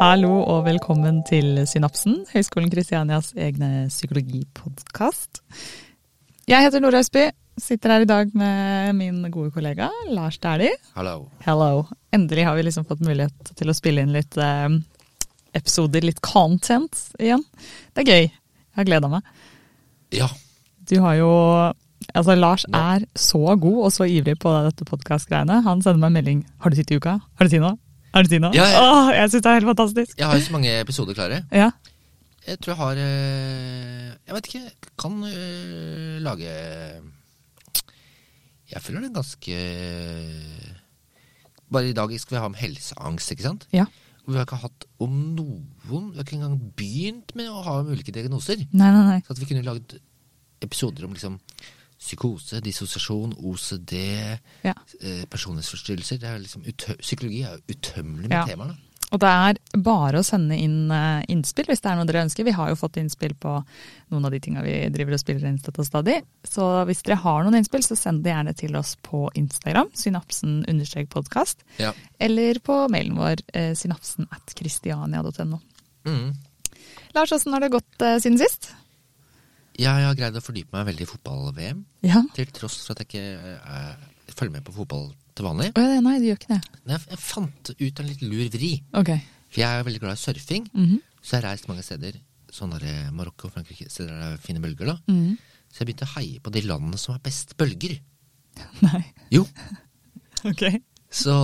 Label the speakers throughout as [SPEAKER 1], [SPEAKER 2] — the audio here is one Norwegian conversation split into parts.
[SPEAKER 1] Hallo og velkommen til Synapsen, Høgskolen Kristianias egne psykologipodkast. Jeg heter Nora Østby, sitter her i dag med min gode kollega Lars Dæhlie.
[SPEAKER 2] Hallo.
[SPEAKER 1] Hello. Endelig har vi liksom fått mulighet til å spille inn litt eh, episoder, litt content igjen. Det er gøy. Jeg har gleda meg.
[SPEAKER 2] Ja.
[SPEAKER 1] Du har jo Altså, Lars
[SPEAKER 2] Ja.
[SPEAKER 1] er så god og så ivrig på dette podkast-greiene. Han sender meg en melding. Har du tid til uka? Har du tid nå? Har du tid nå?
[SPEAKER 2] Ja, ja.
[SPEAKER 1] Åh, jeg syns det er helt fantastisk.
[SPEAKER 2] Jeg har jo så mange episoder klare.
[SPEAKER 1] Ja.
[SPEAKER 2] Jeg tror jeg har eh, Jeg vet ikke. Kan eh, lage Jeg føler det er ganske Bare i dag skal vi ha om helseangst, ikke sant?
[SPEAKER 1] ja.
[SPEAKER 2] Og vi har ikke hatt om noen Vi har ikke engang begynt med å ha om ulike diagnoser.
[SPEAKER 1] Nei, nei, nei.
[SPEAKER 2] Så at vi kunne laget episoder om liksom psykose, dissosiasjon, OCD,
[SPEAKER 1] Ja.
[SPEAKER 2] eh, personlighetsforstyrrelser. Det er liksom utø psykologi er jo utømmelig med
[SPEAKER 1] Ja.
[SPEAKER 2] temaer. da.
[SPEAKER 1] Og det er bare å sende inn eh, innspill hvis det er noe dere ønsker. Vi har jo fått innspill på noen av de tinga vi driver og spiller inn støtt og stadig. Så hvis dere har noen innspill, så send det gjerne til oss på Instagram, synapsen-podkast,
[SPEAKER 2] Ja.
[SPEAKER 1] eller på mailen vår, eh, synapsen at kristiania.no.
[SPEAKER 2] Mm.
[SPEAKER 1] Lars, åssen har det gått eh, siden sist?
[SPEAKER 2] Jeg har greid å fordype meg veldig i fotball-VM,
[SPEAKER 1] Ja.
[SPEAKER 2] til tross for at jeg ikke eh, følger med på fotball til vanlig.
[SPEAKER 1] Å, ja, nei, det gjør ikke det.
[SPEAKER 2] Men jeg, jeg fant ut en litt lur vri,
[SPEAKER 1] Ok.
[SPEAKER 2] for jeg er veldig glad i surfing.
[SPEAKER 1] Mhm.
[SPEAKER 2] Så jeg har reist mange steder, sånn der eh, Marokko og Frankrike, steder der det er fine bølger. da.
[SPEAKER 1] Mhm.
[SPEAKER 2] Så jeg begynte å heie på de landene som har best bølger.
[SPEAKER 1] Nei.
[SPEAKER 2] Jo,
[SPEAKER 1] Ok.
[SPEAKER 2] Så,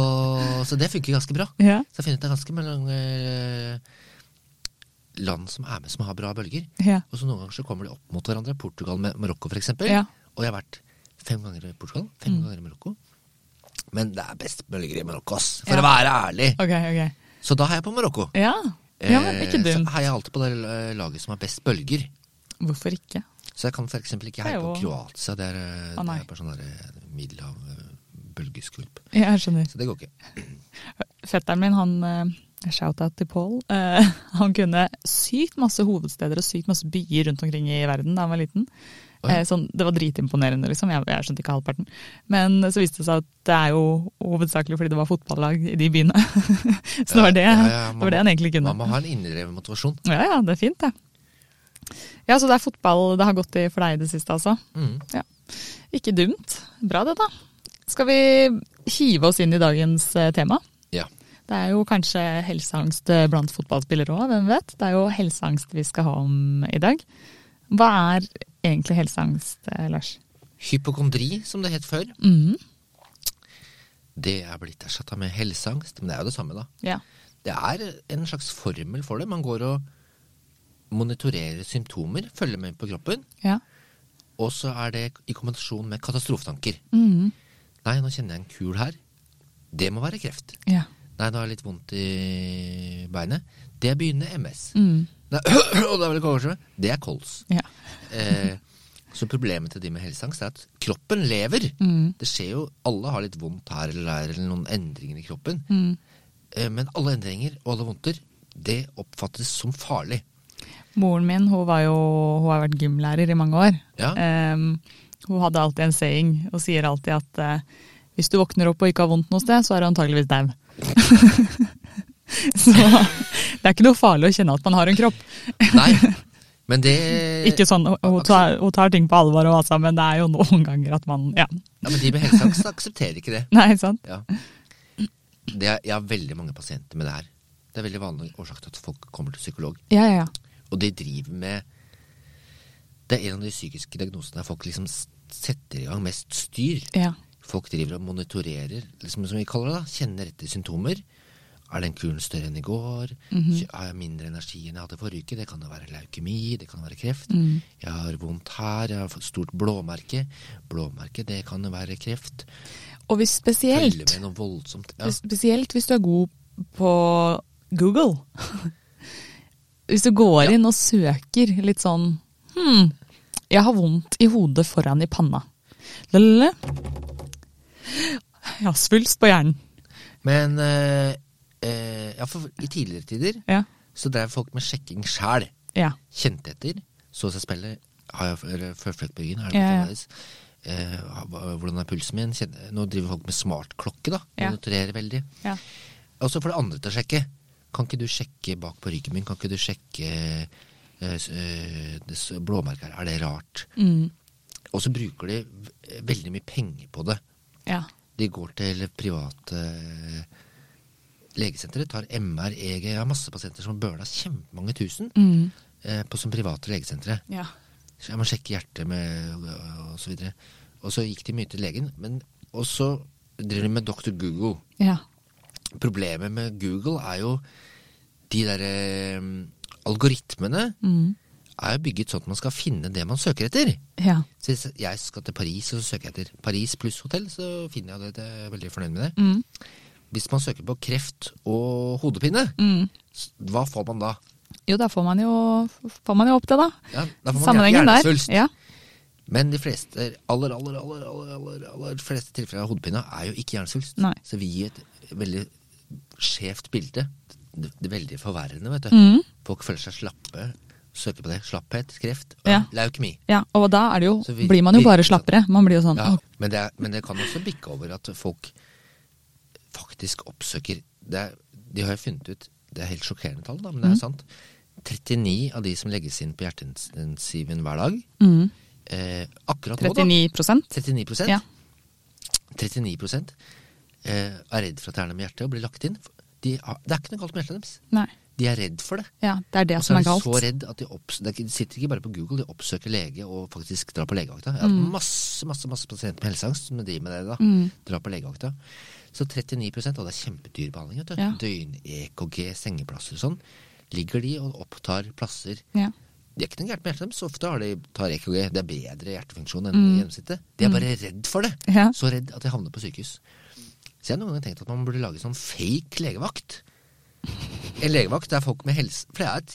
[SPEAKER 2] så det funker ganske bra.
[SPEAKER 1] Ja.
[SPEAKER 2] Så jeg har funnet ut det er ganske mange eh, land som er med som har bra bølger.
[SPEAKER 1] Ja.
[SPEAKER 2] Og så noen ganger så kommer de opp mot hverandre. Portugal med Marokko, for eksempel.
[SPEAKER 1] Ja. Mm.
[SPEAKER 2] Og jeg har vært fem ganger i Portugal, fem ganger i Marokko. Men det er best bølger i Marokko, ass. For
[SPEAKER 1] Ja.
[SPEAKER 2] å være ærlig.
[SPEAKER 1] Ok, ok.
[SPEAKER 2] Så da heier jeg på Marokko.
[SPEAKER 1] Ja. ja men ikke
[SPEAKER 2] Eh,
[SPEAKER 1] dumt.
[SPEAKER 2] Så heier jeg alltid på det eh, laget som har best bølger.
[SPEAKER 1] Hvorfor ikke?
[SPEAKER 2] Så jeg kan for eksempel ikke
[SPEAKER 1] Det er
[SPEAKER 2] heie på
[SPEAKER 1] jo-
[SPEAKER 2] Kroatia. Det er, eh,
[SPEAKER 1] Å, nei.
[SPEAKER 2] det er bare sånn der eh, middelhavbølgeskulp.
[SPEAKER 1] Ja, Jeg skjønner.
[SPEAKER 2] Så det går ikke.
[SPEAKER 1] Fetteren min, han eh, shout-out til Paul, eh, han kunne sykt masse hovedsteder og sykt masse byer rundt omkring i verden da han var liten.
[SPEAKER 2] Oi.
[SPEAKER 1] Eh, Sånn, det var dritimponerende, liksom. Jeg, jeg skjønte ikke halvparten. Men så viste det seg at det er jo hovedsakelig fordi det var fotballag i de byene. så det var det,
[SPEAKER 2] Ja, ja,
[SPEAKER 1] det, var det han egentlig kunne.
[SPEAKER 2] Man må ha en indre motivasjon.
[SPEAKER 1] Ja, ja, det er fint, det. Ja, så det er fotball det har gått i for deg i det siste, altså.
[SPEAKER 2] Mm.
[SPEAKER 1] Ja. Ikke dumt. Bra det, da. Skal vi hive oss inn i dagens eh, tema?
[SPEAKER 2] Ja.
[SPEAKER 1] Det er jo kanskje helseangst blant fotballspillere òg, hvem vet? Det er jo helseangst vi skal ha om i dag. Hva er egentlig helseangst, eh, Lars?
[SPEAKER 2] Hypokondri, som det het før,
[SPEAKER 1] Mhm.
[SPEAKER 2] det er blitt erstatta med helseangst. Men det er jo det samme, da.
[SPEAKER 1] Ja.
[SPEAKER 2] Det er en slags formel for det. Man går og monitorerer symptomer, følger med på kroppen,
[SPEAKER 1] ja.
[SPEAKER 2] og så er det i kombinasjon med katastrofetanker.
[SPEAKER 1] Mhm.
[SPEAKER 2] Nei, nå kjenner jeg en kul her. Det må være kreft.
[SPEAKER 1] ja.
[SPEAKER 2] Nei, nå har jeg litt vondt i beinet. Det begynner MS.
[SPEAKER 1] Mhm.
[SPEAKER 2] Nei, og det er vel ikke oversvømme. Det er kols.
[SPEAKER 1] ja.
[SPEAKER 2] Eh, så problemet til de med helseangst er at kroppen lever.
[SPEAKER 1] Mhm.
[SPEAKER 2] Det skjer jo, alle har litt vondt her eller der, eller noen endringer i kroppen.
[SPEAKER 1] Mhm.
[SPEAKER 2] Eh, Men alle endringer og alle vondter, det oppfattes som farlig.
[SPEAKER 1] Moren min hun var jo, hun har vært gymlærer i mange år.
[SPEAKER 2] Ja.
[SPEAKER 1] Ehm, hun hadde alltid en saying, og sier alltid at eh, hvis du våkner opp og ikke har vondt noe sted, så er du antageligvis dau. så det er ikke noe farlig å kjenne at man har en kropp.
[SPEAKER 2] Nei, men det
[SPEAKER 1] Ikke sånn, hun tar, hun tar ting på alvor, og altså, men det er jo noen ganger at man Ja,
[SPEAKER 2] ja, Men de med helseangst aksepterer ikke det.
[SPEAKER 1] nei, sant?
[SPEAKER 2] Ja. det er, jeg har veldig mange pasienter med det her. Det er veldig vanlig årsak til at folk kommer til psykolog.
[SPEAKER 1] Ja, ja, ja.
[SPEAKER 2] Og de driver med Det er en av de psykiske diagnosene der folk liksom s- setter i gang mest styr.
[SPEAKER 1] ja.
[SPEAKER 2] Folk driver og monitorerer, liksom som vi kaller det, da, kjenner etter symptomer. Er den kulen større enn i går? Har jeg mindre energi enn jeg hadde forrige uke? Det kan jo være leukemi, det kan være kreft. Jeg har vondt her, jeg har fått stort blåmerke. Blåmerke, det kan jo være kreft.
[SPEAKER 1] Og hvis
[SPEAKER 2] Følger
[SPEAKER 1] spesielt,
[SPEAKER 2] med noe voldsomt. Ja.
[SPEAKER 1] spesielt hvis du er god på Google Hvis du går inn og søker litt sånn Hm, jeg har vondt i hodet foran i panna. Lalalala. Jeg har svulst på hjernen.
[SPEAKER 2] Men eh, eh, ja, for i tidligere tider
[SPEAKER 1] Ja.
[SPEAKER 2] så drev folk med sjekking sjæl.
[SPEAKER 1] Ja.
[SPEAKER 2] Kjente etter, så seg spillet. Har jeg eller følt på ryggen? Er det litt
[SPEAKER 1] Ja, ja.
[SPEAKER 2] annerledes? Eh, hva- hvordan er pulsen min? Kjenne, nå driver folk med smartklokke, da.
[SPEAKER 1] Ja.
[SPEAKER 2] Monitorerer veldig.
[SPEAKER 1] Ja.
[SPEAKER 2] Og så får det andre til å sjekke. Kan ikke du sjekke bak parykken min? Kan ikke du sjekke eh, s- eh, det s- blåmerket her? Er det rart?
[SPEAKER 1] Mm.
[SPEAKER 2] Og så bruker de v- veldig mye penger på det.
[SPEAKER 1] Ja.
[SPEAKER 2] De går til private eh, legesentre, tar MR, EG Jeg har masse pasienter som har burna kjempemange tusen
[SPEAKER 1] Mm.
[SPEAKER 2] eh, på som private legesentre.
[SPEAKER 1] Ja.
[SPEAKER 2] Så jeg må sjekke hjertet med og så videre. Og så gikk de mye til legen. Men og så driver de med Dr. Google.
[SPEAKER 1] Ja.
[SPEAKER 2] Problemet med Google er jo de derre eh, algoritmene
[SPEAKER 1] Mm.
[SPEAKER 2] er jo bygget sånn at man skal finne det man søker etter.
[SPEAKER 1] Ja.
[SPEAKER 2] Så hvis jeg skal til Paris, og så søker jeg etter Paris pluss hotell, så finner jeg det. Jeg er veldig fornøyd med det.
[SPEAKER 1] Mm.
[SPEAKER 2] Hvis man søker på kreft og hodepine,
[SPEAKER 1] Mm.
[SPEAKER 2] s- hva får man da?
[SPEAKER 1] Jo, da får man jo, får man jo opp det, da.
[SPEAKER 2] Ja, da får man
[SPEAKER 1] Sammenhengen der.
[SPEAKER 2] hjernesvulst.
[SPEAKER 1] Ja.
[SPEAKER 2] Men de fleste, aller, aller, aller, aller, aller, aller fleste tilfeller av hodepine er jo ikke hjernesvulst.
[SPEAKER 1] Nei.
[SPEAKER 2] Så vi gir et veldig skjevt bilde. Det, det er veldig forverrende, vet du.
[SPEAKER 1] Mm.
[SPEAKER 2] Folk føler seg slappe, søker på det. Slapphet, kreft,
[SPEAKER 1] Ja.
[SPEAKER 2] leukemi.
[SPEAKER 1] ja. Og da er det jo,
[SPEAKER 2] Så vi-
[SPEAKER 1] blir man jo
[SPEAKER 2] vi-
[SPEAKER 1] bare slappere. Man blir jo sånn
[SPEAKER 2] Ja,
[SPEAKER 1] «Å,
[SPEAKER 2] men, det er, men det kan også bikke over at folk faktisk oppsøker det er, De har jo funnet ut Det er helt sjokkerende tall, da, men det er
[SPEAKER 1] Mhm.
[SPEAKER 2] sant. 39 av de som legges inn på hjerteintensiven hver dag
[SPEAKER 1] mm.
[SPEAKER 2] eh, Akkurat nå,
[SPEAKER 1] 39
[SPEAKER 2] da. 39
[SPEAKER 1] Ja.
[SPEAKER 2] 39 eh, er redd for at det er noe med hjertet og blir lagt inn. De, har- det er ikke noe galt med hjertet deres.
[SPEAKER 1] Nei.
[SPEAKER 2] De er redd for det.
[SPEAKER 1] Ja, det er det
[SPEAKER 2] Og så
[SPEAKER 1] som
[SPEAKER 2] er
[SPEAKER 1] er
[SPEAKER 2] de
[SPEAKER 1] galt.
[SPEAKER 2] så redd at de, opps det er ikke- de sitter ikke bare på Google, de oppsøker lege og faktisk drar på legevakta. Jeg har
[SPEAKER 1] Mm.
[SPEAKER 2] hatt masse masse, masse pasienter med helseangst som driver med det. da, Drar på legevakta. Så 39 og det er kjempedyr behandling. vet du.
[SPEAKER 1] Ja.
[SPEAKER 2] Døgn, EKG, sengeplasser og sånn. Ligger de og opptar plasser.
[SPEAKER 1] Ja.
[SPEAKER 2] Det er ikke noe gærent med hjertet deres. Ofte har de, tar EKG. Det er bedre hjertefunksjon enn gjennomsnittet. De er bare redd for det.
[SPEAKER 1] Mm. Ja.
[SPEAKER 2] Så redd at de havner på sykehus. Så jeg har noen ganger tenkt at man burde lage sånn fake legevakt. En legevakt der folk med helse For det er, et, det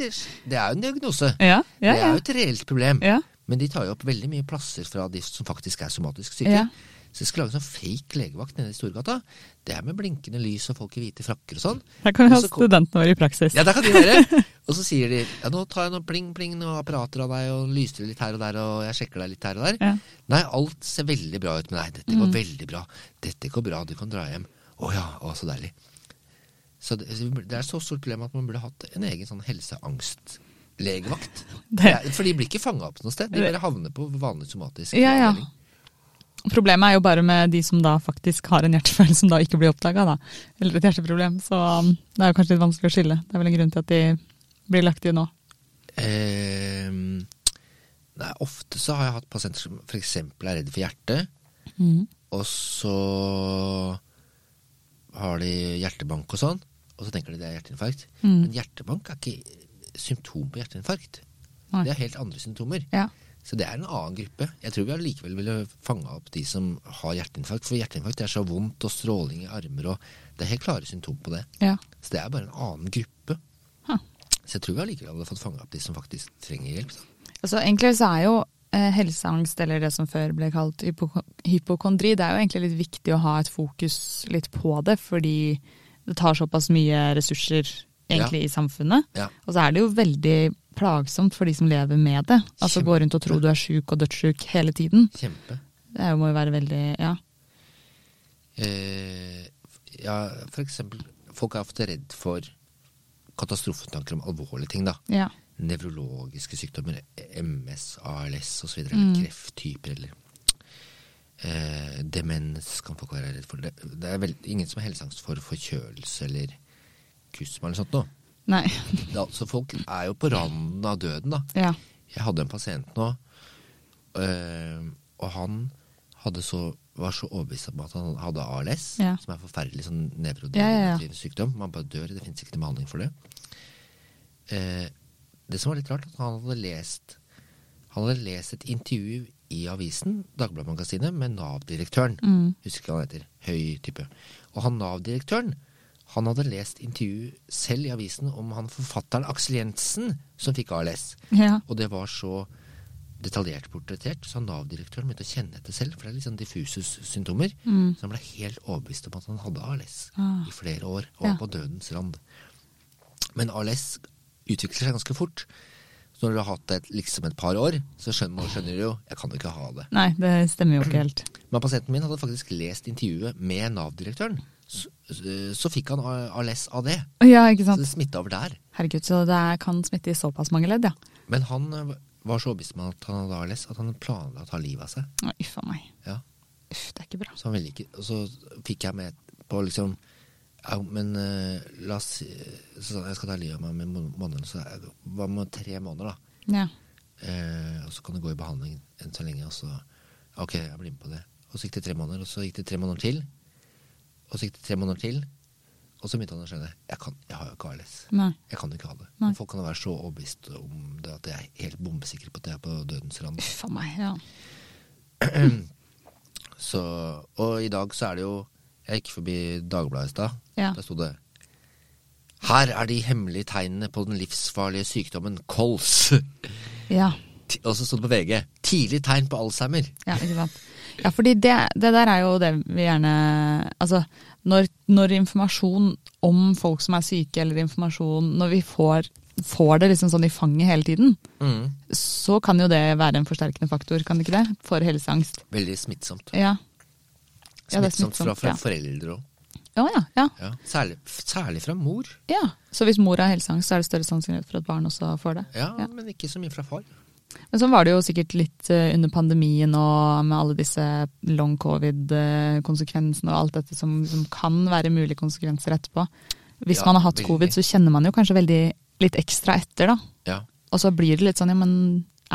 [SPEAKER 2] er jo en diagnose.
[SPEAKER 1] Ja, ja,
[SPEAKER 2] Det
[SPEAKER 1] ja.
[SPEAKER 2] er jo et reelt problem.
[SPEAKER 1] Ja.
[SPEAKER 2] Men de tar jo opp veldig mye plasser fra de som faktisk er somatisk syke.
[SPEAKER 1] Ja.
[SPEAKER 2] Så jeg skal lage en sånn fake legevakt nede i Storgata. Det er med blinkende lys og folk i hvite frakker og sånn.
[SPEAKER 1] Der kan vi ha
[SPEAKER 2] Og så kom-
[SPEAKER 1] studentene våre i praksis.
[SPEAKER 2] ja, der kan de være. Og så sier de ja, nå tar jeg noen pling-pling og apparater av deg og lyser litt her og der og jeg sjekker deg litt her og der.
[SPEAKER 1] Ja. Mm.
[SPEAKER 2] Nei, alt ser veldig bra ut med deg. Dette går veldig bra. Dette går bra, du kan dra hjem. Å ja, å, så deilig. Så det, så det er så stort problem at man burde hatt en egen sånn helseangstlegevakt.
[SPEAKER 1] Det-
[SPEAKER 2] For de blir ikke fanga opp noe sted. De bare havner på vanlig somatisk
[SPEAKER 1] Ja, ja.
[SPEAKER 2] avdeling.
[SPEAKER 1] Problemet er jo bare med de som da faktisk har en hjertefølelse som da ikke blir oppdaga, da. Eller et hjerteproblem. Så um, det er jo kanskje litt vanskelig å skille. Det er vel en grunn til at de blir lagt inn nå.
[SPEAKER 2] Eh, nei, ofte så har jeg hatt pasienter som f.eks. er redd for hjertet.
[SPEAKER 1] Mm.
[SPEAKER 2] Og så har de hjertebank og sånn, og så tenker de det er hjerteinfarkt.
[SPEAKER 1] Mm.
[SPEAKER 2] Men hjertebank er ikke symptom på hjerteinfarkt.
[SPEAKER 1] Nei.
[SPEAKER 2] Det er helt andre symptomer.
[SPEAKER 1] Ja.
[SPEAKER 2] Så det er en annen gruppe. Jeg tror vi allikevel ville fanga opp de som har hjerteinfarkt. For hjerteinfarkt er så vondt, og stråling i armer, og det er helt klare symptomer på det.
[SPEAKER 1] Ja.
[SPEAKER 2] Så det er bare en annen gruppe.
[SPEAKER 1] Huh.
[SPEAKER 2] Så jeg tror vi allikevel hadde fått fanga opp de som faktisk trenger hjelp. Da.
[SPEAKER 1] Altså, egentlig så er jo eh, helseangst, eller det som før ble kalt hypoko- hypokondri, det er jo egentlig litt viktig å ha et fokus litt på det, fordi det tar såpass mye ressurser egentlig i samfunnet.
[SPEAKER 2] Ja.
[SPEAKER 1] Og så er det jo veldig plagsomt for de som lever med det. Altså
[SPEAKER 2] Kjempe.
[SPEAKER 1] gå rundt og tro du er sjuk og dødssjuk hele tiden.
[SPEAKER 2] Kjempe.
[SPEAKER 1] Det er jo, må jo være veldig Ja.
[SPEAKER 2] Eh, ja, for eksempel, folk er ofte redd for katastrofetanker om alvorlige ting, da.
[SPEAKER 1] Ja.
[SPEAKER 2] Nevrologiske sykdommer, MS, ALS osv.,
[SPEAKER 1] Mm.
[SPEAKER 2] eller krefttyper, eller eh, demens kan folk være redd for. Det, det er vel ingen som har helseangst for forkjølelse eller kusma eller sånt noe.
[SPEAKER 1] Nei.
[SPEAKER 2] Det er Altså, folk er jo på randen av døden, da.
[SPEAKER 1] Ja.
[SPEAKER 2] Jeg hadde en pasient nå, eh, og han hadde så, var så overbevist om at han hadde ALS,
[SPEAKER 1] Ja.
[SPEAKER 2] som er en forferdelig sånn
[SPEAKER 1] Ja, ja, ja.
[SPEAKER 2] nevrodegenerativ sykdom. Man bare dør, det fins ikke noen behandling for det. Eh, det som var litt rart, at han hadde lest han hadde lest et intervju i avisen, Dagbladmagasinet, med Nav-direktøren.
[SPEAKER 1] Mm.
[SPEAKER 2] Husker ikke hva han heter. Høy type. Og han Nav-direktøren han hadde lest intervju selv i avisen om han forfatteren Aksel Jensen som fikk ALS.
[SPEAKER 1] Ja.
[SPEAKER 2] Og det var så detaljert portrettert, så Nav-direktøren begynte å kjenne etter selv, for det er litt sånn diffuse s- symptomer. Så han ble helt overbevist om at han hadde ALS
[SPEAKER 1] Mm. Ah.
[SPEAKER 2] i flere år, og
[SPEAKER 1] Ja.
[SPEAKER 2] var på dødens rand. Men ALS utvikler seg ganske fort. Så når du har hatt det et- liksom et par år, så skjønner, skjønner du jo jeg kan jo ikke ha det.
[SPEAKER 1] Nei, det stemmer jo ikke helt.
[SPEAKER 2] Men pasienten min hadde faktisk lest intervjuet med Nav-direktøren, Så, så fikk han ALS av det.
[SPEAKER 1] Ja, ikke
[SPEAKER 2] Så
[SPEAKER 1] sant.
[SPEAKER 2] det smitta over der.
[SPEAKER 1] Herregud, så det er- kan smitte i såpass mange ledd, ja.
[SPEAKER 2] Men han eh, var så overbevist om at han hadde ALS at han planla å ta livet av seg.
[SPEAKER 1] Å, Uff a meg.
[SPEAKER 2] Ja.
[SPEAKER 1] Uff, det er ikke bra.
[SPEAKER 2] Så han ville ikke, og så fikk jeg med på liksom ja, men eh, la oss si Så sa han jeg skal ta livet av meg med må- måneden. Så jeg, hva med tre måneder, da?
[SPEAKER 1] Ja.
[SPEAKER 2] Eh, og så kan du gå i behandling enn så lenge, og så Ok, jeg blir med på det. Og så gikk det tre måneder, og så gikk det tre måneder til. Og så gikk det tre måneder til. Og så begynte han å skjønne jeg, kan, jeg har jo ikke ALS.
[SPEAKER 1] Nei.
[SPEAKER 2] Jeg kan jo ikke ha det.
[SPEAKER 1] Nei.
[SPEAKER 2] Folk kan jo være så overbevist om det at jeg er helt bombesikker på at jeg er på dødens rand.
[SPEAKER 1] Uff a meg. Ja.
[SPEAKER 2] Så, og i dag så er det jo Jeg gikk forbi Dagbladet i stad.
[SPEAKER 1] Ja.
[SPEAKER 2] Der sto det Her er de hemmelige tegnene på den livsfarlige sykdommen kols.
[SPEAKER 1] ja.
[SPEAKER 2] Ti- Og så sto det på VG tidlig tegn på alzheimer.
[SPEAKER 1] Ja, ikke sant. Ja, fordi det, det der er jo det vi gjerne Altså, når, når informasjon om folk som er syke, eller informasjon Når vi får, får det liksom sånn i fanget hele tiden, så kan jo det være en forsterkende faktor, kan det ikke det? For helseangst.
[SPEAKER 2] Veldig smittsomt.
[SPEAKER 1] Ja.
[SPEAKER 2] Smittsomt,
[SPEAKER 1] Ja, det er
[SPEAKER 2] fra,
[SPEAKER 1] smittsomt,
[SPEAKER 2] fra
[SPEAKER 1] ja.
[SPEAKER 2] foreldre òg.
[SPEAKER 1] Ja, ja, ja.
[SPEAKER 2] Ja. Særlig, f- særlig fra mor.
[SPEAKER 1] ja. Så hvis mor har helseangst, så er det større sannsynlighet for at barn også får det.
[SPEAKER 2] Ja,
[SPEAKER 1] Ja.
[SPEAKER 2] men ikke så mye fra far.
[SPEAKER 1] Men sånn var det jo sikkert litt eh, under pandemien og med alle disse long covid-konsekvensene og alt dette som, som kan være mulige konsekvenser etterpå. Hvis
[SPEAKER 2] Ja,
[SPEAKER 1] man har hatt
[SPEAKER 2] veldig.
[SPEAKER 1] covid, så kjenner man jo kanskje veldig litt ekstra etter, da.
[SPEAKER 2] Ja.
[SPEAKER 1] Og så blir det litt sånn, ja, men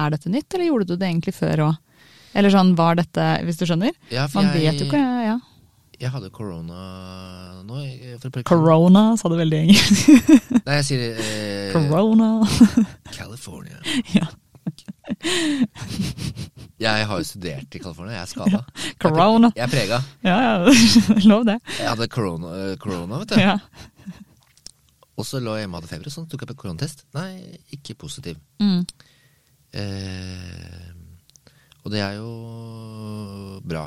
[SPEAKER 1] er dette nytt, eller gjorde du det egentlig før òg? Eller sånn, var dette Hvis du skjønner?
[SPEAKER 2] Ja, for
[SPEAKER 1] Man
[SPEAKER 2] jeg-
[SPEAKER 1] vet jo ikke, ja.
[SPEAKER 2] Jeg hadde korona nå. eh, For et par uker siden.
[SPEAKER 1] Corona, sa du veldig engelsk.
[SPEAKER 2] Nei, jeg sier eh,
[SPEAKER 1] Corona.
[SPEAKER 2] California.
[SPEAKER 1] ja.
[SPEAKER 2] Jeg har jo studert i California. Jeg er skada.
[SPEAKER 1] Corona.
[SPEAKER 2] Jeg er prega.
[SPEAKER 1] Ja, ja, lov det.
[SPEAKER 2] Jeg hadde corona, eh, corona vet du.
[SPEAKER 1] Ja.
[SPEAKER 2] Og så lå jeg hjemme og hadde feber, og sånn tok jeg på koronatest. Nei, ikke positiv.
[SPEAKER 1] Mm.
[SPEAKER 2] Eh, og det er jo bra.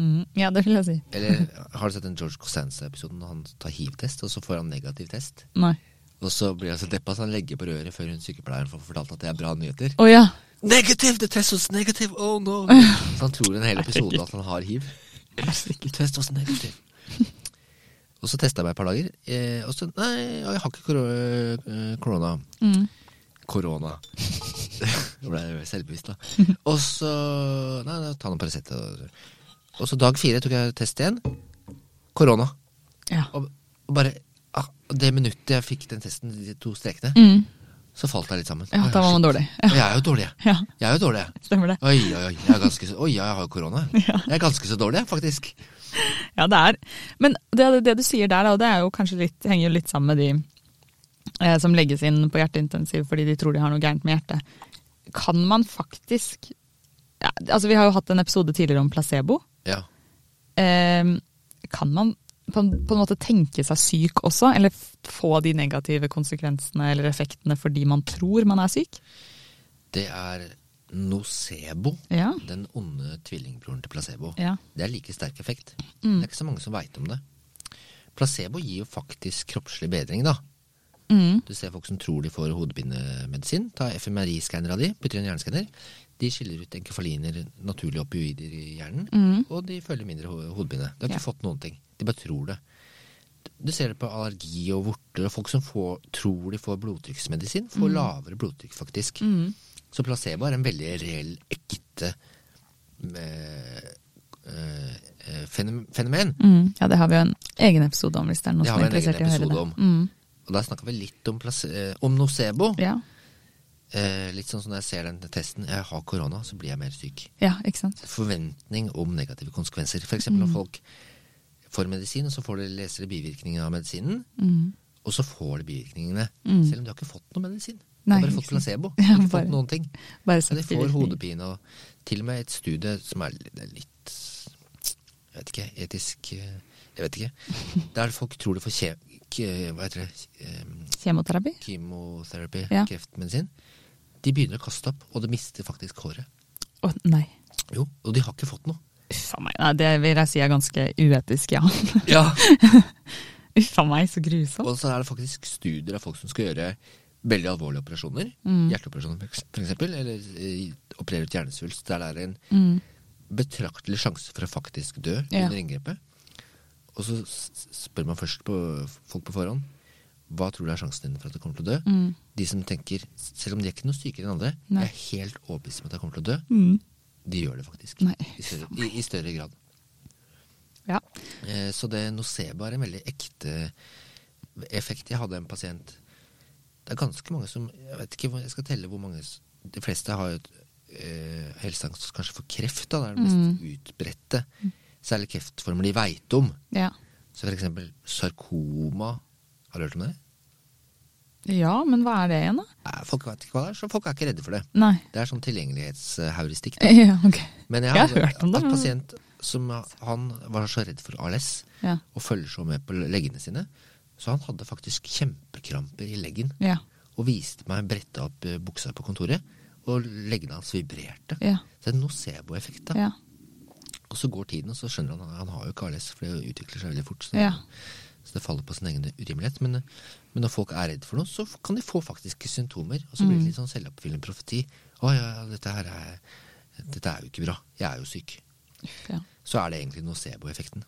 [SPEAKER 1] Mm. ja, det vil jeg si.
[SPEAKER 2] Eller har du sett den George Costanza-episoden? Han tar hiv-test, og så får han negativ test.
[SPEAKER 1] Nei.
[SPEAKER 2] Og så blir han så deppa så han legger på røret før hun sykepleieren får fortalt at det er bra nyheter.
[SPEAKER 1] Å ja.
[SPEAKER 2] Negativ! The test was negative! Oh no! Så han tror en hel episode at han har hiv. The test was negative. Og så testa jeg meg et par dager, eh, og så Nei, jeg har ikke koro- eh, korona.
[SPEAKER 1] Mm.
[SPEAKER 2] Korona. Jeg ble selvbevisst, da. Og så Nei, nei ta noen Paracet. og- Og så dag fire tok jeg test igjen. Korona.
[SPEAKER 1] Ja.
[SPEAKER 2] Og, og bare ah, Det minuttet jeg fikk den testen, de to strekene,
[SPEAKER 1] Mm.
[SPEAKER 2] så falt jeg litt sammen.
[SPEAKER 1] Ja,
[SPEAKER 2] Oi,
[SPEAKER 1] da var man
[SPEAKER 2] shit.
[SPEAKER 1] dårlig. Ja.
[SPEAKER 2] Og Jeg er jo dårlig, jeg.
[SPEAKER 1] Ja,
[SPEAKER 2] Jeg er jo dårlig, jeg.
[SPEAKER 1] stemmer det.
[SPEAKER 2] Oi, oi, oi. Jeg, er ganske så, oi, ja, jeg har jo korona. Jeg er ganske så dårlig, jeg, faktisk.
[SPEAKER 1] Ja, det er. Men det, det du sier der, da, det er jo kanskje litt, henger jo litt sammen med de eh, som legges inn på hjerteintensiv fordi de tror de har noe gærent med hjertet. Kan man faktisk ja, Altså, vi har jo hatt en episode tidligere om placebo.
[SPEAKER 2] Ja.
[SPEAKER 1] Eh, kan man på en, på en måte tenke seg syk også, eller f- få de negative konsekvensene eller effektene fordi man tror man er syk?
[SPEAKER 2] Det er nocebo.
[SPEAKER 1] Ja.
[SPEAKER 2] Den onde tvillingbroren til placebo.
[SPEAKER 1] Ja.
[SPEAKER 2] Det er like sterk effekt. Det er ikke så mange som veit om det. Placebo gir jo faktisk kroppslig bedring, da.
[SPEAKER 1] Mm.
[SPEAKER 2] Du ser folk som tror de får hodepinemedisin. Ta fMRI-skanner av de, putter i en hjerneskanner. De skiller ut enkefaliner, naturlige opioider i hjernen, og de føler mindre ho- hodepine. De har ikke
[SPEAKER 1] Mm. Ja.
[SPEAKER 2] fått noen ting. De bare tror det. Du ser det på allergi og vorter, og folk som får, tror de får blodtrykksmedisin, får
[SPEAKER 1] Mm.
[SPEAKER 2] lavere blodtrykk, faktisk. Så placebo er en veldig reell, ekte eh, eh, eh, fenomen. fenomen.
[SPEAKER 1] Mm. Ja, det har vi jo en egen episode om, hvis det er noen
[SPEAKER 2] Det har
[SPEAKER 1] som er
[SPEAKER 2] vi en egen
[SPEAKER 1] interessert i å høre det.
[SPEAKER 2] episode om.
[SPEAKER 1] Mm.
[SPEAKER 2] Og der snakka vi litt om, place eh, om nocebo.
[SPEAKER 1] Ja.
[SPEAKER 2] Eh, litt sånn som når jeg ser den testen, jeg har korona, så blir jeg mer syk.
[SPEAKER 1] ja, ikke sant.
[SPEAKER 2] Forventning om negative konsekvenser. F.eks. eksempel
[SPEAKER 1] Mm.
[SPEAKER 2] når folk får medisin, og så får de leser de bivirkningene av medisinen.
[SPEAKER 1] Mm.
[SPEAKER 2] Og så får de bivirkningene,
[SPEAKER 1] Mm,
[SPEAKER 2] selv om de har ikke fått noe medisin. De
[SPEAKER 1] Nei,
[SPEAKER 2] har bare
[SPEAKER 1] ikke
[SPEAKER 2] fått
[SPEAKER 1] sant.
[SPEAKER 2] placebo.
[SPEAKER 1] Ja,
[SPEAKER 2] De har ikke
[SPEAKER 1] bare-
[SPEAKER 2] fått noen ting.
[SPEAKER 1] Bare
[SPEAKER 2] Så de
[SPEAKER 1] sett
[SPEAKER 2] får
[SPEAKER 1] bivirkninger.
[SPEAKER 2] hodepine, og til og med et studie som er litt, det er litt Jeg vet ikke, etisk eh, Jeg vet ikke. Der folk tror de får kje, k- hva heter det, eh,
[SPEAKER 1] Kjemoterapi?
[SPEAKER 2] kemoterapi,
[SPEAKER 1] Ja.
[SPEAKER 2] kreftmedisin, de begynner å kaste opp, og de mister faktisk håret.
[SPEAKER 1] Å nei.
[SPEAKER 2] Jo, og de har ikke fått noe.
[SPEAKER 1] Uff a meg. Nei, det vil jeg si er ganske uetisk, ja. Uff a meg, så grusomt.
[SPEAKER 2] Og så er det faktisk studier av folk som skal gjøre veldig alvorlige operasjoner.
[SPEAKER 1] Mm.
[SPEAKER 2] Hjerteoperasjoner, for eks- for eksempel, eller eh, operere ut hjernesvulst. Der det er en betraktelig sjanse for å faktisk dø
[SPEAKER 1] Mm. Ja.
[SPEAKER 2] under inngrepet. Og Og så s- spør man først på folk på forhånd hva tror du er sjansen din for at du kommer til å dø.
[SPEAKER 1] Mm.
[SPEAKER 2] De som tenker, selv om de er ikke noe sykere enn andre,
[SPEAKER 1] Nei.
[SPEAKER 2] jeg er helt overbevist om at jeg kommer til å dø,
[SPEAKER 1] Mm.
[SPEAKER 2] de gjør det faktisk.
[SPEAKER 1] Nei,
[SPEAKER 2] I, større, i, I større grad.
[SPEAKER 1] Ja.
[SPEAKER 2] Eh, Så det nocebo er en veldig ekte effekt. Jeg hadde en pasient Det er ganske mange som Jeg vet ikke, hvor- jeg skal telle hvor mange s- De fleste har jo et eh, helseangst kanskje for kreft. Da, det er det mest utbredte. Særlig kreftformer de veit om.
[SPEAKER 1] ja.
[SPEAKER 2] Så for eksempel sarkoma Har du hørt om det?
[SPEAKER 1] Ja, men hva er det igjen, da?
[SPEAKER 2] Nei, folk vet ikke hva det er, så folk er ikke redde for det.
[SPEAKER 1] Nei.
[SPEAKER 2] Det er sånn tilgjengelighetsheuristikk. da.
[SPEAKER 1] Ja, ok.
[SPEAKER 2] Men jeg,
[SPEAKER 1] Jeg har
[SPEAKER 2] hadde
[SPEAKER 1] hørt om det,
[SPEAKER 2] En
[SPEAKER 1] men-
[SPEAKER 2] pasient som han var så redd for ALS,
[SPEAKER 1] Ja.
[SPEAKER 2] og følger så med på leggene sine, så han hadde faktisk kjempekramper i leggen.
[SPEAKER 1] Ja.
[SPEAKER 2] Og viste meg bretta opp eh, buksa på kontoret, og leggene hans vibrerte.
[SPEAKER 1] Ja.
[SPEAKER 2] Så det er en nocebo-effekt. da.
[SPEAKER 1] Ja.
[SPEAKER 2] Og så går tiden, og så skjønner han at han har jo ikke ALS, for det utvikler seg veldig fort. Så,
[SPEAKER 1] Ja.
[SPEAKER 2] så det faller på sin egen urimelighet. Men, eh, men når folk er redd for noe, så kan de få faktiske symptomer. Og så blir det litt
[SPEAKER 1] Mm.
[SPEAKER 2] sånn selvoppfyllende profeti. Å ja, ja, dette her er Dette er jo ikke bra. Jeg er jo syk.
[SPEAKER 1] Uff, ja.
[SPEAKER 2] Så er det egentlig nocebo-effekten.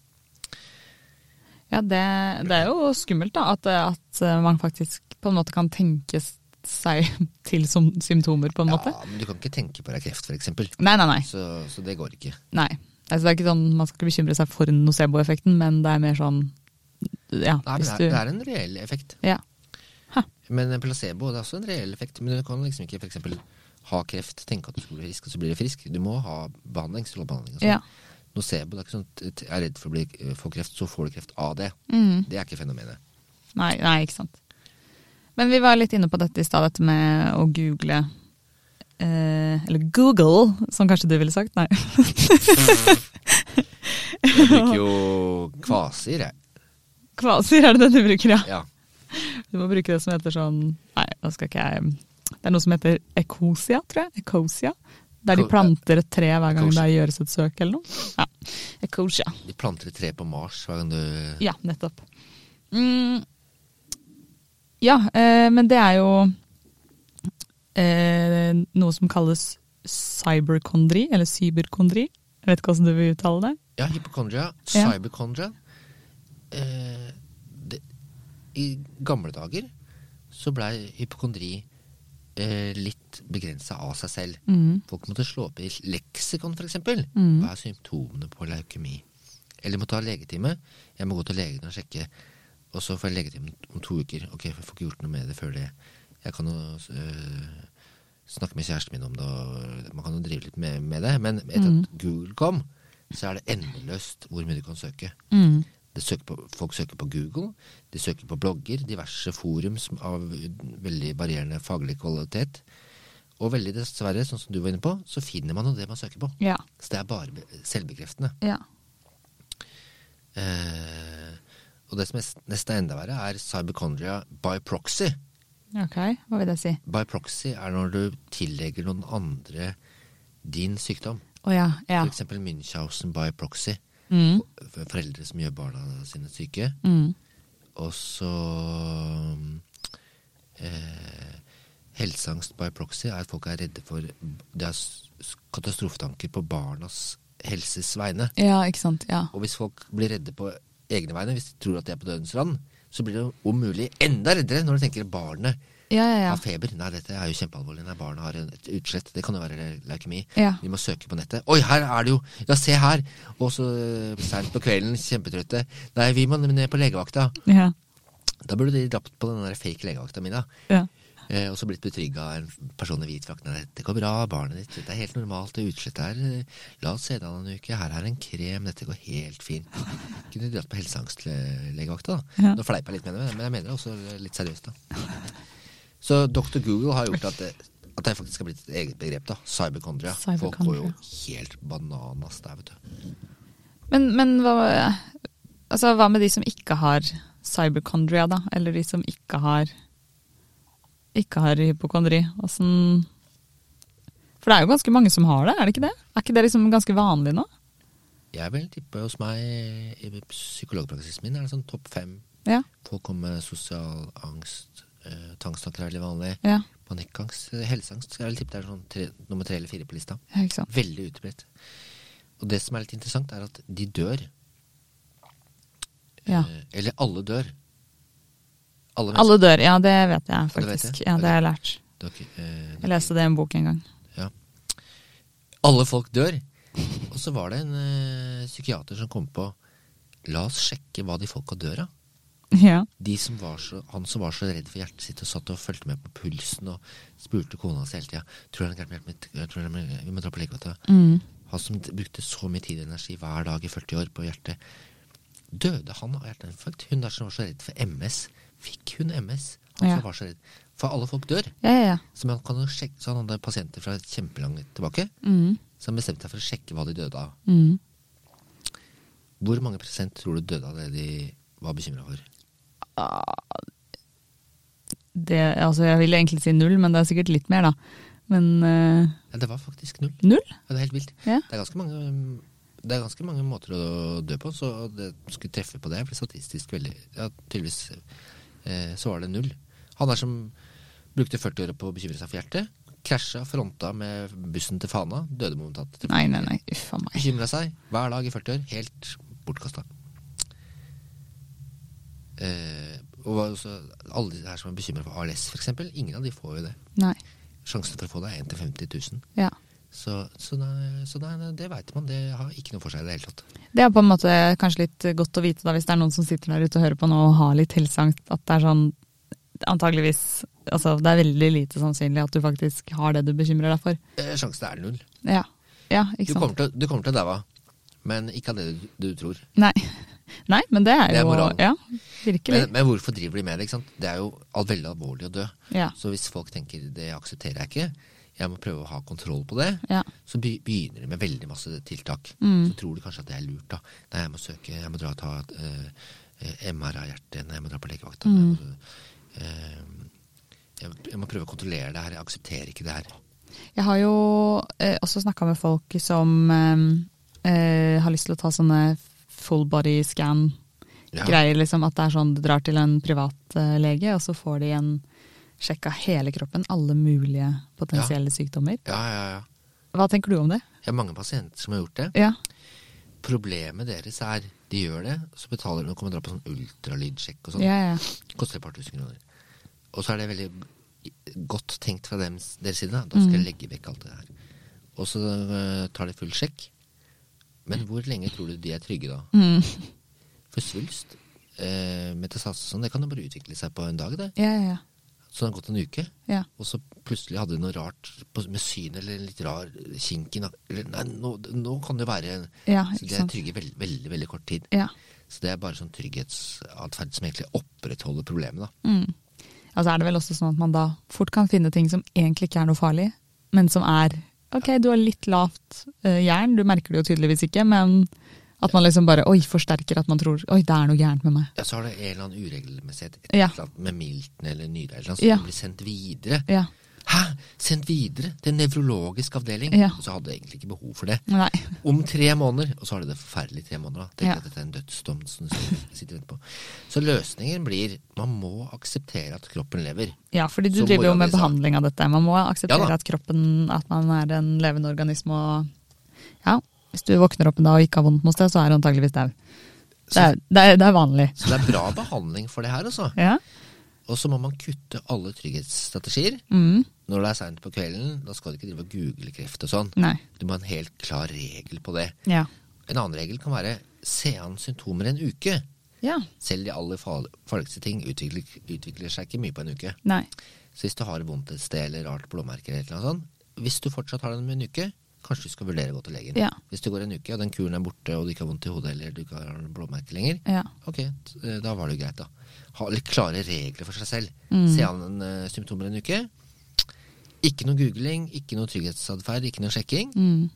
[SPEAKER 1] Ja, det, det er jo skummelt da, at, at eh, man faktisk på en måte kan tenke seg til som symptomer, på en måte.
[SPEAKER 2] Ja, men du kan ikke tenke på deg kreft, for eksempel.
[SPEAKER 1] Nei, nei, nei.
[SPEAKER 2] Så, så det går ikke.
[SPEAKER 1] nei. Altså, det er ikke sånn, man skal ikke bekymre seg for nocebo-effekten, men det er mer sånn ja,
[SPEAKER 2] Nei, men
[SPEAKER 1] hvis
[SPEAKER 2] det,
[SPEAKER 1] du,
[SPEAKER 2] er, det er en reell effekt.
[SPEAKER 1] Ja.
[SPEAKER 2] Men en placebo det er også en reell effekt. Men du kan liksom ikke for eksempel ha kreft, tenke at du skal bli frisk, og så blir du frisk. Du må ha behandling, strålebehandling og sånn.
[SPEAKER 1] Ja.
[SPEAKER 2] Nocebo, det er ikke sånn at jeg er redd for å bli, eh, få kreft, så får du kreft av det.
[SPEAKER 1] Mm.
[SPEAKER 2] Det er ikke fenomenet.
[SPEAKER 1] Nei, nei, ikke sant. Men vi var litt inne på dette i stad, dette med å google eh, Eller Google, som kanskje du ville sagt. Nei.
[SPEAKER 2] Jeg bruker jo kvasier, jeg.
[SPEAKER 1] Kvasier er det det du bruker, ja.
[SPEAKER 2] Ja.
[SPEAKER 1] Du må bruke det som heter sånn Nei, nå skal ikke jeg Det er noe som heter ekosia, tror jeg. Ecosia. Der de
[SPEAKER 2] Ko-
[SPEAKER 1] planter et tre hver gang
[SPEAKER 2] Ecosia.
[SPEAKER 1] det gjøres et søk eller noe. Ja. Ecosia.
[SPEAKER 2] De planter et tre på Mars hver gang du
[SPEAKER 1] Ja, nettopp. Mm. Ja, eh, men det er jo eh, noe som kalles cyberkondri, eller cyberkondri. Jeg vet ikke hvordan du vil uttale det.
[SPEAKER 2] Ja, hypokondria.
[SPEAKER 1] Ja.
[SPEAKER 2] Cyberkondria. Eh, det, I gamle dager så blei hypokondri eh, litt begrensa av seg selv. Folk måtte slå opp i leksikon, f.eks. eksempel
[SPEAKER 1] Mm.
[SPEAKER 2] Hva er symptomene på leukemi? Eller må ta legetime. Jeg må gå til legen og sjekke. Og så får jeg legetime om to uker. Ok, jeg får ikke gjort noe med det før det. Jeg kan jo øh, snakke med kjæresten min om det, og man kan jo drive litt med, med det. Men etter at Google kom, så er det endeløst hvor mye du kan søke.
[SPEAKER 1] Mm.
[SPEAKER 2] Det søker på, folk søker på Google, de søker på blogger, diverse forum som- av veldig varierende faglig kvalitet. Og veldig dessverre, sånn som du var inne på, så finner man jo det man søker på.
[SPEAKER 1] Ja.
[SPEAKER 2] Så det er bare be- selvbekreftende.
[SPEAKER 1] ja.
[SPEAKER 2] Eh, og det som er s- nesten er enda verre, er cyberchondria by proxy.
[SPEAKER 1] Ok, hva vil det si?
[SPEAKER 2] By proxy er når du tillegger noen andre din sykdom.
[SPEAKER 1] Å ja. ja.
[SPEAKER 2] For eksempel Münchhausen by proxy.
[SPEAKER 1] Mm.
[SPEAKER 2] For foreldre som gjør barna sine syke.
[SPEAKER 1] Mm.
[SPEAKER 2] Og så mm, eh, Helseangst by proxy er at folk er redde for Det er s- s- katastrofetanker på barnas helses vegne.
[SPEAKER 1] Ja, ikke sant. Ja.
[SPEAKER 2] Og hvis folk blir redde på egne vegne, hvis de tror at de er på dødens rand, så blir de om mulig enda reddere når de tenker at barnet
[SPEAKER 1] Ja, ja, ja.
[SPEAKER 2] har feber. Nei, dette er jo kjempealvorlig. Nei, barnet har en- et utslett. Det kan jo være leukemi.
[SPEAKER 1] Ja.
[SPEAKER 2] Vi må søke på nettet. Oi, her er det jo! Ja, se her! Og så eh, sent på kvelden, kjempetrøtte. Nei, vi må ned på legevakta.
[SPEAKER 1] Ja.
[SPEAKER 2] Da burde de dratt på den der fake legevakta mi, da.
[SPEAKER 1] ja.
[SPEAKER 2] Eh, og så blitt betrygga av en person i hvit drakt. Nei, det går bra, barnet ditt. Det er helt normalt, det utslettet her. eh, La oss se deg an en uke. Her er en krem. Dette går helt fint. Kunne dratt på helseangstlegevakta, da.
[SPEAKER 1] Ja.
[SPEAKER 2] Nå fleipa jeg litt med det, men jeg mener det også litt seriøst, da. Så Dr. Google har gjort at det, at det faktisk har blitt et eget begrep, da. Cyberchondria. Folk går jo
[SPEAKER 1] Cyberchondria.
[SPEAKER 2] helt bananas der, vet du.
[SPEAKER 1] Men, men hva, altså, hva med de som ikke har cyberchondria, da? Eller de som ikke har ikke har hypokondri? Åssen For det er jo ganske mange som har det, er det ikke det? Er ikke det liksom ganske vanlig nå?
[SPEAKER 2] Jeg vil tippe hos meg, i psykologpraksisen min, er det sånn topp fem
[SPEAKER 1] Ja.
[SPEAKER 2] Folk kommer med sosial angst, eh, tvangstanker er veldig vanlig.
[SPEAKER 1] Ja,
[SPEAKER 2] Panikkangst, eh, helseangst skal jeg vel tippe det er sånn tre, nummer tre eller fire på lista.
[SPEAKER 1] ja ikke sant.
[SPEAKER 2] Veldig utbredt. Og det som er litt interessant, er at de dør
[SPEAKER 1] Ja.
[SPEAKER 2] Eh, Eller alle dør. Alle mennesker.
[SPEAKER 1] Alle dør, ja det vet jeg
[SPEAKER 2] det vet
[SPEAKER 1] faktisk.
[SPEAKER 2] jeg.
[SPEAKER 1] Ja, det har jeg lært.
[SPEAKER 2] Det er ikke- eh,
[SPEAKER 1] Jeg leste det i en bok en gang.
[SPEAKER 2] Ja. Alle folk dør. Og så var det en eh, psykiater som kom på La oss sjekke hva de folka dør av.
[SPEAKER 1] Ja.
[SPEAKER 2] De som var så, han som var så redd for hjertet sitt og satt og fulgte med på pulsen og spurte kona si hele tida Tror du det er gærent med hjertet mitt? Jeg tror det er med- Vi må dra på legevakta.
[SPEAKER 1] Mm.
[SPEAKER 2] Han som t- brukte så mye tid og energi hver dag i 40 år på hjertet. Døde han av hjerteinfarkt? Hun der som var så redd for MS. Fikk hun MS? Han
[SPEAKER 1] Ja.
[SPEAKER 2] som var så redd. For alle folk dør.
[SPEAKER 1] Ja, ja, ja.
[SPEAKER 2] Så man kan jo sjekke, så han hadde pasienter fra kjempelangt tilbake,
[SPEAKER 1] Mm.
[SPEAKER 2] så han bestemte seg for å sjekke hva de døde av.
[SPEAKER 1] Mm.
[SPEAKER 2] Hvor mange prosent tror du døde av det de var bekymra for?
[SPEAKER 1] Det, altså, jeg vil egentlig si null, men det er sikkert litt mer, da. Men eh,
[SPEAKER 2] Ja, det var faktisk null.
[SPEAKER 1] null?
[SPEAKER 2] Ja, det er helt vilt.
[SPEAKER 1] Ja.
[SPEAKER 2] Det, er ganske mange, um, det er ganske mange måter å dø på, så det skulle treffe på det. Jeg ble statistisk veldig Ja, tydeligvis eh, så var det null. Han der som brukte 40 år på å bekymre seg for hjertet, krasja fronta med bussen til Fana, døde momentant.
[SPEAKER 1] Nei, nei, nei. Uff a meg.
[SPEAKER 2] Bekymra seg hver dag i 40 år. Helt bortkasta. Eh, og var også, alle de her som er bekymra for ALS, f.eks. Ingen av de får jo det.
[SPEAKER 1] Nei.
[SPEAKER 2] Sjansen for å få det er 1 til 50 000.
[SPEAKER 1] Ja.
[SPEAKER 2] Så, så, nei, så nei, nei, det veit man. Det har ikke noe for seg i det hele tatt.
[SPEAKER 1] Det er på en måte kanskje litt godt å vite da, hvis det er noen som sitter der ute og hører på nå og har litt helseangst, at det er sånn antageligvis Altså, det er veldig lite sannsynlig at du faktisk har det du bekymrer deg for.
[SPEAKER 2] Eh, sjansen er null.
[SPEAKER 1] Ja, ja
[SPEAKER 2] Du
[SPEAKER 1] ikke sant.
[SPEAKER 2] kommer, til, du kommer til å daue, men ikke av det du, du tror.
[SPEAKER 1] Nei. nei, men det er
[SPEAKER 2] Det er
[SPEAKER 1] jo
[SPEAKER 2] moralen.
[SPEAKER 1] Ja, virkelig.
[SPEAKER 2] Men, men hvorfor driver de med det? ikke sant? Det er jo al- veldig alvorlig å dø.
[SPEAKER 1] Ja.
[SPEAKER 2] Så hvis folk tenker det aksepterer jeg ikke, jeg må prøve å ha kontroll på det,
[SPEAKER 1] Ja.
[SPEAKER 2] så be- begynner de med veldig masse tiltak.
[SPEAKER 1] Mm.
[SPEAKER 2] Så tror de kanskje at det er lurt. da. Nei, jeg må søke, jeg må dra og ta eh, eh, MR av hjertet, nei, jeg må dra på legevakta.
[SPEAKER 1] Mm.
[SPEAKER 2] nei, jeg må- eh, jeg, jeg må prøve å kontrollere det her, jeg aksepterer ikke det her.
[SPEAKER 1] Jeg har jo eh, også snakka med folk som eh, eh, har lyst til å ta sånne full body
[SPEAKER 2] Ja.
[SPEAKER 1] scan-greier. Liksom, at det er sånn du drar til en privatlege, og så får de en sjekk av hele kroppen. Alle mulige potensielle sykdommer.
[SPEAKER 2] Ja, ja, ja.
[SPEAKER 1] Hva tenker du om det?
[SPEAKER 2] Jeg har mange pasienter som har gjort det.
[SPEAKER 1] Ja.
[SPEAKER 2] Problemet deres er de gjør det, så betaler de og kommer dra på sånn ultralydsjekk og sånn.
[SPEAKER 1] Ja, ja.
[SPEAKER 2] Koster et par tusen kroner. Og så er det veldig godt tenkt fra dem, deres side. Da Da skal jeg legge vekk alt det her. Og så øh, tar de full sjekk. Men hvor lenge tror du de er trygge da?
[SPEAKER 1] Mm.
[SPEAKER 2] For svulst, eh, metastase og sånn, det kan jo bare utvikle seg på en dag, det.
[SPEAKER 1] ja, ja,
[SPEAKER 2] Så det har gått en uke.
[SPEAKER 1] ja. ja.
[SPEAKER 2] Og så plutselig hadde de noe rart på, med synet, eller en litt rar kink i nakken. Eller Nei, nå, nå kan det være
[SPEAKER 1] Ja,
[SPEAKER 2] Så
[SPEAKER 1] ikke
[SPEAKER 2] de er
[SPEAKER 1] sant.
[SPEAKER 2] trygge veldig, veldig, veldig kort tid.
[SPEAKER 1] ja.
[SPEAKER 2] Så det er bare sånn trygghetsatferd som egentlig opprettholder problemet, da.
[SPEAKER 1] Mm. Altså er det vel også sånn at man da fort kan finne ting som egentlig ikke er noe farlig, men som er Ok, du har litt lavt eh, jern, du merker det jo tydeligvis ikke, men at man liksom bare oi, forsterker at man tror oi, det er noe gærent med meg.
[SPEAKER 2] Ja, så har det en eller annen uregelmessighet et
[SPEAKER 1] Ja.
[SPEAKER 2] eller annet med Milton eller Nyre eller noe, som
[SPEAKER 1] Ja.
[SPEAKER 2] blir sendt videre.
[SPEAKER 1] Ja.
[SPEAKER 2] Hæ! Sendt videre til en nevrologisk avdeling!
[SPEAKER 1] Ja.
[SPEAKER 2] Og så hadde jeg egentlig ikke behov for det.
[SPEAKER 1] Nei.
[SPEAKER 2] Om tre måneder, og så har de det forferdelig i tre måneder, da. Tenk
[SPEAKER 1] Ja.
[SPEAKER 2] at dette er en dødsdom som du sitter og venter på. Så løsningen blir man må akseptere at kroppen lever.
[SPEAKER 1] Ja, fordi du
[SPEAKER 2] Så
[SPEAKER 1] driver
[SPEAKER 2] mora
[SPEAKER 1] jo med
[SPEAKER 2] di sa-
[SPEAKER 1] behandling av dette. Man må akseptere
[SPEAKER 2] Ja da.
[SPEAKER 1] at kroppen at man er en levende organisme og Ja, hvis du våkner opp en dag og ikke har vondt noe sted, så er du antageligvis dau. Det, er- det, er- det er vanlig.
[SPEAKER 2] Så det er bra behandling for det her, altså.
[SPEAKER 1] Ja.
[SPEAKER 2] Og så må man kutte alle trygghetsstrategier.
[SPEAKER 1] Mm.
[SPEAKER 2] Når det er seint på kvelden, da skal du ikke drive og google kreft og sånn.
[SPEAKER 1] Nei.
[SPEAKER 2] Du må ha en helt klar regel på det.
[SPEAKER 1] Ja.
[SPEAKER 2] En annen regel kan være se an symptomer en uke.
[SPEAKER 1] Ja.
[SPEAKER 2] Selv de aller far- farligste ting utvikler, utvikler seg ikke mye på en uke.
[SPEAKER 1] Nei.
[SPEAKER 2] Så hvis du har vondt et sted eller rart blåmerke eller et eller annet sånt, hvis du fortsatt har den om en uke, kanskje du skal vurdere å gå til legen.
[SPEAKER 1] Ja.
[SPEAKER 2] Hvis det går en uke, og den kuren er borte, og du ikke har vondt i hodet eller du ikke har blåmerke lenger,
[SPEAKER 1] Ja.
[SPEAKER 2] ok, t- eh, da var det jo greit, da. Ha litt klare regler for seg selv. Se an en, eh, symptomer en uke. Ikke noe googling, ikke noe trygghetsatferd, ikke noe sjekking.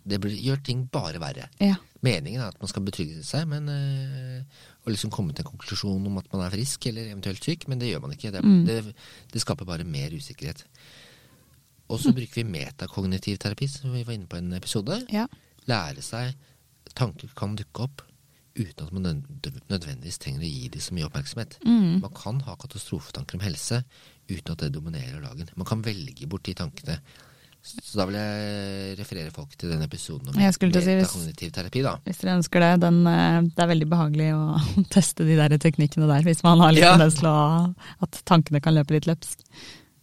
[SPEAKER 2] Det blir, gjør ting bare verre.
[SPEAKER 1] Mm. Ja.
[SPEAKER 2] Meningen er at man skal betrygge seg, men øh, og liksom komme til en konklusjon om at man er frisk eller eventuelt syk, men det gjør man ikke. Det, det, det skaper bare mer usikkerhet. Og så bruker vi metakognitiv terapi, som vi var inne på i en episode.
[SPEAKER 1] Ja.
[SPEAKER 2] Lære seg Tanker kan dukke opp uten at man nød- nødvendigvis trenger å gi dem så mye oppmerksomhet.
[SPEAKER 1] Mm.
[SPEAKER 2] Man kan ha katastrofetanker om helse uten at det dominerer dagen. Man kan velge bort de tankene Så da vil jeg referere folk til den episoden om
[SPEAKER 1] Jeg skulle til å si hvis-
[SPEAKER 2] metakognitiv terapi, da.
[SPEAKER 1] Hvis dere ønsker det. Den, eh, det er veldig behagelig å teste de der teknikkene der, hvis man har litt
[SPEAKER 2] Ja.
[SPEAKER 1] tendens til å- at tankene kan løpe litt løpsk.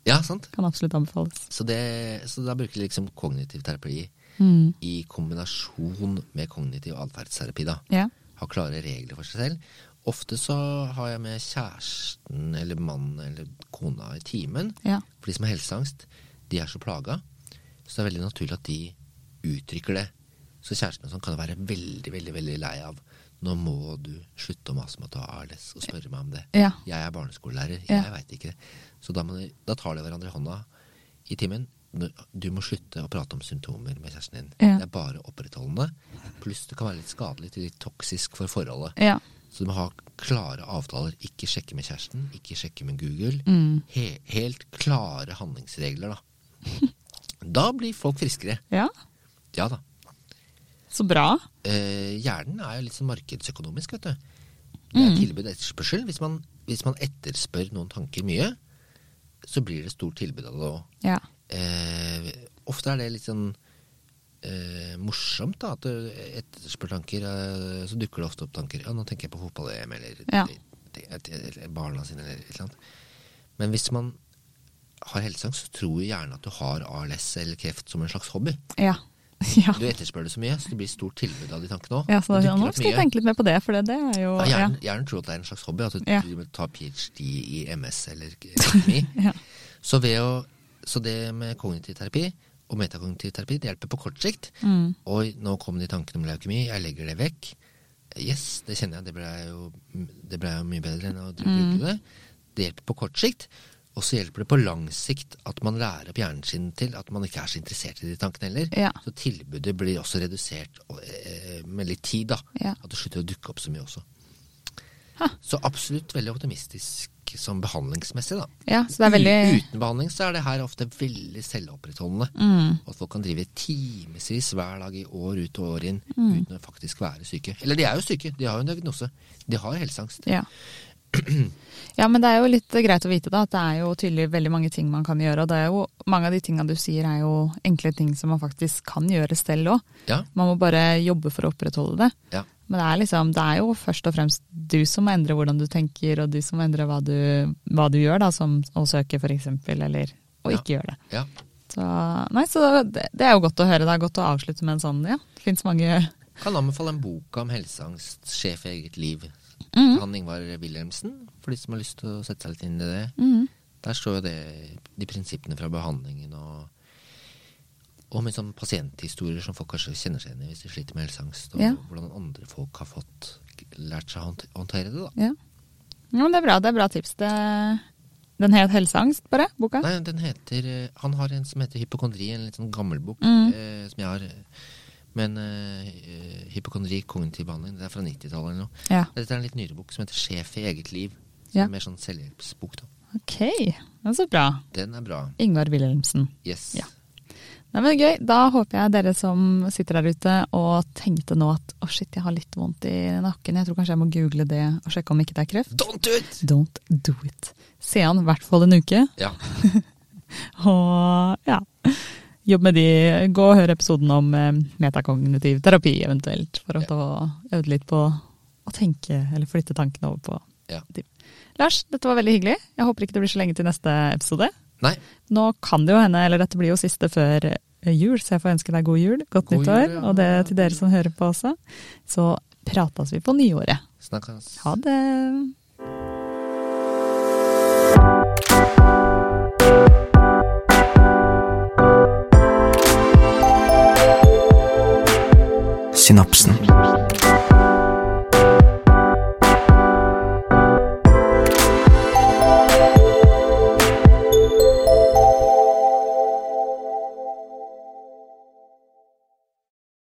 [SPEAKER 2] Ja, sant?
[SPEAKER 1] Kan absolutt anbefales.
[SPEAKER 2] Så, det, så da bruker de liksom kognitiv terapi
[SPEAKER 1] Mm.
[SPEAKER 2] i kombinasjon med kognitiv atferdsterapi, da.
[SPEAKER 1] Ja.
[SPEAKER 2] Har klare regler for seg selv. Ofte så har jeg med kjæresten eller mannen eller kona i timen.
[SPEAKER 1] ja.
[SPEAKER 2] For de som har helseangst, de er så plaga. Så det er veldig naturlig at de uttrykker det. Så kjæresten og sånn kan være veldig, veldig veldig lei av. Nå må du slutte å mase om at du har ALS, og spørre meg om det.
[SPEAKER 1] Ja.
[SPEAKER 2] Jeg er barneskolelærer,
[SPEAKER 1] Ja.
[SPEAKER 2] jeg veit ikke det. Så da, må de, da tar de hverandre i hånda i timen. Nå- Du må slutte å prate om symptomer med kjæresten din.
[SPEAKER 1] Ja.
[SPEAKER 2] Det er bare opprettholdende. Pluss det kan være litt skadelig, litt toksisk for forholdet.
[SPEAKER 1] ja.
[SPEAKER 2] Så du må ha klare avtaler. Ikke sjekke med kjæresten, ikke sjekke med Google.
[SPEAKER 1] Mm.
[SPEAKER 2] He helt klare handlingsregler, da. Da blir folk friskere.
[SPEAKER 1] ja.
[SPEAKER 2] Ja da.
[SPEAKER 1] Så bra.
[SPEAKER 2] Eh, hjernen er jo litt sånn markedsøkonomisk, vet du. Det er tilbud og etterspørsel. Hvis man, hvis man etterspør noen tanker mye, så blir det stort tilbud av det òg.
[SPEAKER 1] Ja.
[SPEAKER 2] Eh, ofte er det litt sånn eh, morsomt, da. At du etterspør tanker. Eh, så dukker det ofte opp tanker. Ja, nå tenker jeg på fotball-EM, eller,
[SPEAKER 1] Ja.
[SPEAKER 2] eller, eller barna sine, eller et eller annet. Men hvis man har helseangst, så tror jo hjernen at du har ALS eller kreft som en slags hobby.
[SPEAKER 1] Ja. ja.
[SPEAKER 2] Du etterspør det så mye, så det blir stort tilbud av de tankene òg.
[SPEAKER 1] Ja, så da, nå skal jeg tenke litt mer på det, for det, det er jo
[SPEAKER 2] Ja,
[SPEAKER 1] ja.
[SPEAKER 2] hjernen, hjernen tror at det er en slags hobby, at du
[SPEAKER 1] Ja.
[SPEAKER 2] driver med- tar ph.d. i MS eller kjemi.
[SPEAKER 1] Ja.
[SPEAKER 2] så, ved å, så det med kognitiv terapi og metakognitiv terapi det hjelper på kort sikt.
[SPEAKER 1] Mm.
[SPEAKER 2] Oi, nå kom de tankene om leukemi, jeg legger det vekk. Yes, det kjenner jeg, det ble jo, det ble jo mye bedre enn å drive
[SPEAKER 1] Mm.
[SPEAKER 2] og bruke det. Det hjelper på kort sikt. Og så hjelper det på lang sikt at man lærer opp hjernen sin til at man ikke er så interessert i de tankene heller.
[SPEAKER 1] Ja.
[SPEAKER 2] Så tilbudet blir også redusert og, eh, med litt tid, da.
[SPEAKER 1] Ja.
[SPEAKER 2] At det slutter å dukke opp så mye også.
[SPEAKER 1] Ha.
[SPEAKER 2] Så absolutt veldig optimistisk som behandlingsmessig, da.
[SPEAKER 1] ja, så det er veldig
[SPEAKER 2] U- Uten behandling så er det her ofte veldig selvopprettholdende.
[SPEAKER 1] mm.
[SPEAKER 2] At folk kan drive timevis hver dag i år ut og år inn uten å faktisk være syke. Eller de er jo syke, de har jo en diagnose. De har helseangst.
[SPEAKER 1] Ja. Ja, men det er jo litt greit å vite da, at det er jo tydelig veldig mange ting man kan gjøre. Og det er jo, mange av de tinga du sier er jo enkle ting som man faktisk kan gjøre selv òg.
[SPEAKER 2] Ja,
[SPEAKER 1] Man må bare jobbe for å opprettholde det.
[SPEAKER 2] ja.
[SPEAKER 1] Men det er, liksom, det er jo først og fremst du som må endre hvordan du tenker, og du som må endre hva du, hva du gjør, da, som å søke f.eks., eller å
[SPEAKER 2] Ja.
[SPEAKER 1] ikke gjøre det.
[SPEAKER 2] ja.
[SPEAKER 1] Så, nei, så det, det er jo godt å høre. Det er godt å avslutte med en sånn, ja. Det fins mange
[SPEAKER 2] Kan anbefale en bok om helseangst, sjef i eget liv. Han Ingvar Wilhelmsen, for de som har lyst til å sette seg litt inn i det.
[SPEAKER 1] Mm,
[SPEAKER 2] Der står jo det, de prinsippene fra behandlingen og og med sånn pasienthistorier som folk kanskje kjenner seg igjen i hvis de sliter med helseangst, og
[SPEAKER 1] Ja.
[SPEAKER 2] hvordan andre folk har fått lært seg å hånd- håndtere det, da.
[SPEAKER 1] Ja. ja, men det er bra. Det er bra tips. Det, den het Helseangst, bare, boka?
[SPEAKER 2] Nei, den heter eh, Han har en som heter Hypokondri, en litt sånn gammel bok
[SPEAKER 1] Mm.
[SPEAKER 2] eh, som jeg har. Men eh, eh, Hypokondri kognitiv behandling, det er fra 90-tallet eller noe.
[SPEAKER 1] Ja.
[SPEAKER 2] Dette er en litt nyere bok som heter Sjef i eget liv. Som
[SPEAKER 1] Ja.
[SPEAKER 2] er Mer sånn selvhjelpsbok, da.
[SPEAKER 1] Ok, det er så bra.
[SPEAKER 2] Den er bra.
[SPEAKER 1] Ingvar Wilhelmsen.
[SPEAKER 2] Yes.
[SPEAKER 1] Ja. Nei, men gøy. Da håper jeg dere som sitter der ute og tenkte nå at å shit, jeg har litt vondt i nakken, jeg tror kanskje jeg må google det og sjekke om ikke det er kreft.
[SPEAKER 2] Don't do it!
[SPEAKER 1] Don't do it. Se an i hvert fall en uke,
[SPEAKER 2] Ja.
[SPEAKER 1] og ja. Jobb med de. Gå og hør episoden om eh, metakognitiv terapi eventuelt, for å
[SPEAKER 2] Ja.
[SPEAKER 1] få øvd litt på å tenke, eller flytte tankene over på
[SPEAKER 2] ja.
[SPEAKER 1] de. Lars, dette var veldig hyggelig. Jeg håper ikke det blir så lenge til neste episode.
[SPEAKER 2] Nei.
[SPEAKER 1] Nå kan det jo hende, eller dette blir jo siste før eh, jul, så jeg får ønske deg god jul, godt
[SPEAKER 2] God
[SPEAKER 1] nyttår,
[SPEAKER 2] jul, ja.
[SPEAKER 1] og det til dere som hører på også. Så prates vi på nyåret.
[SPEAKER 2] Snakkes.
[SPEAKER 1] Ha det!
[SPEAKER 3] Synapsen.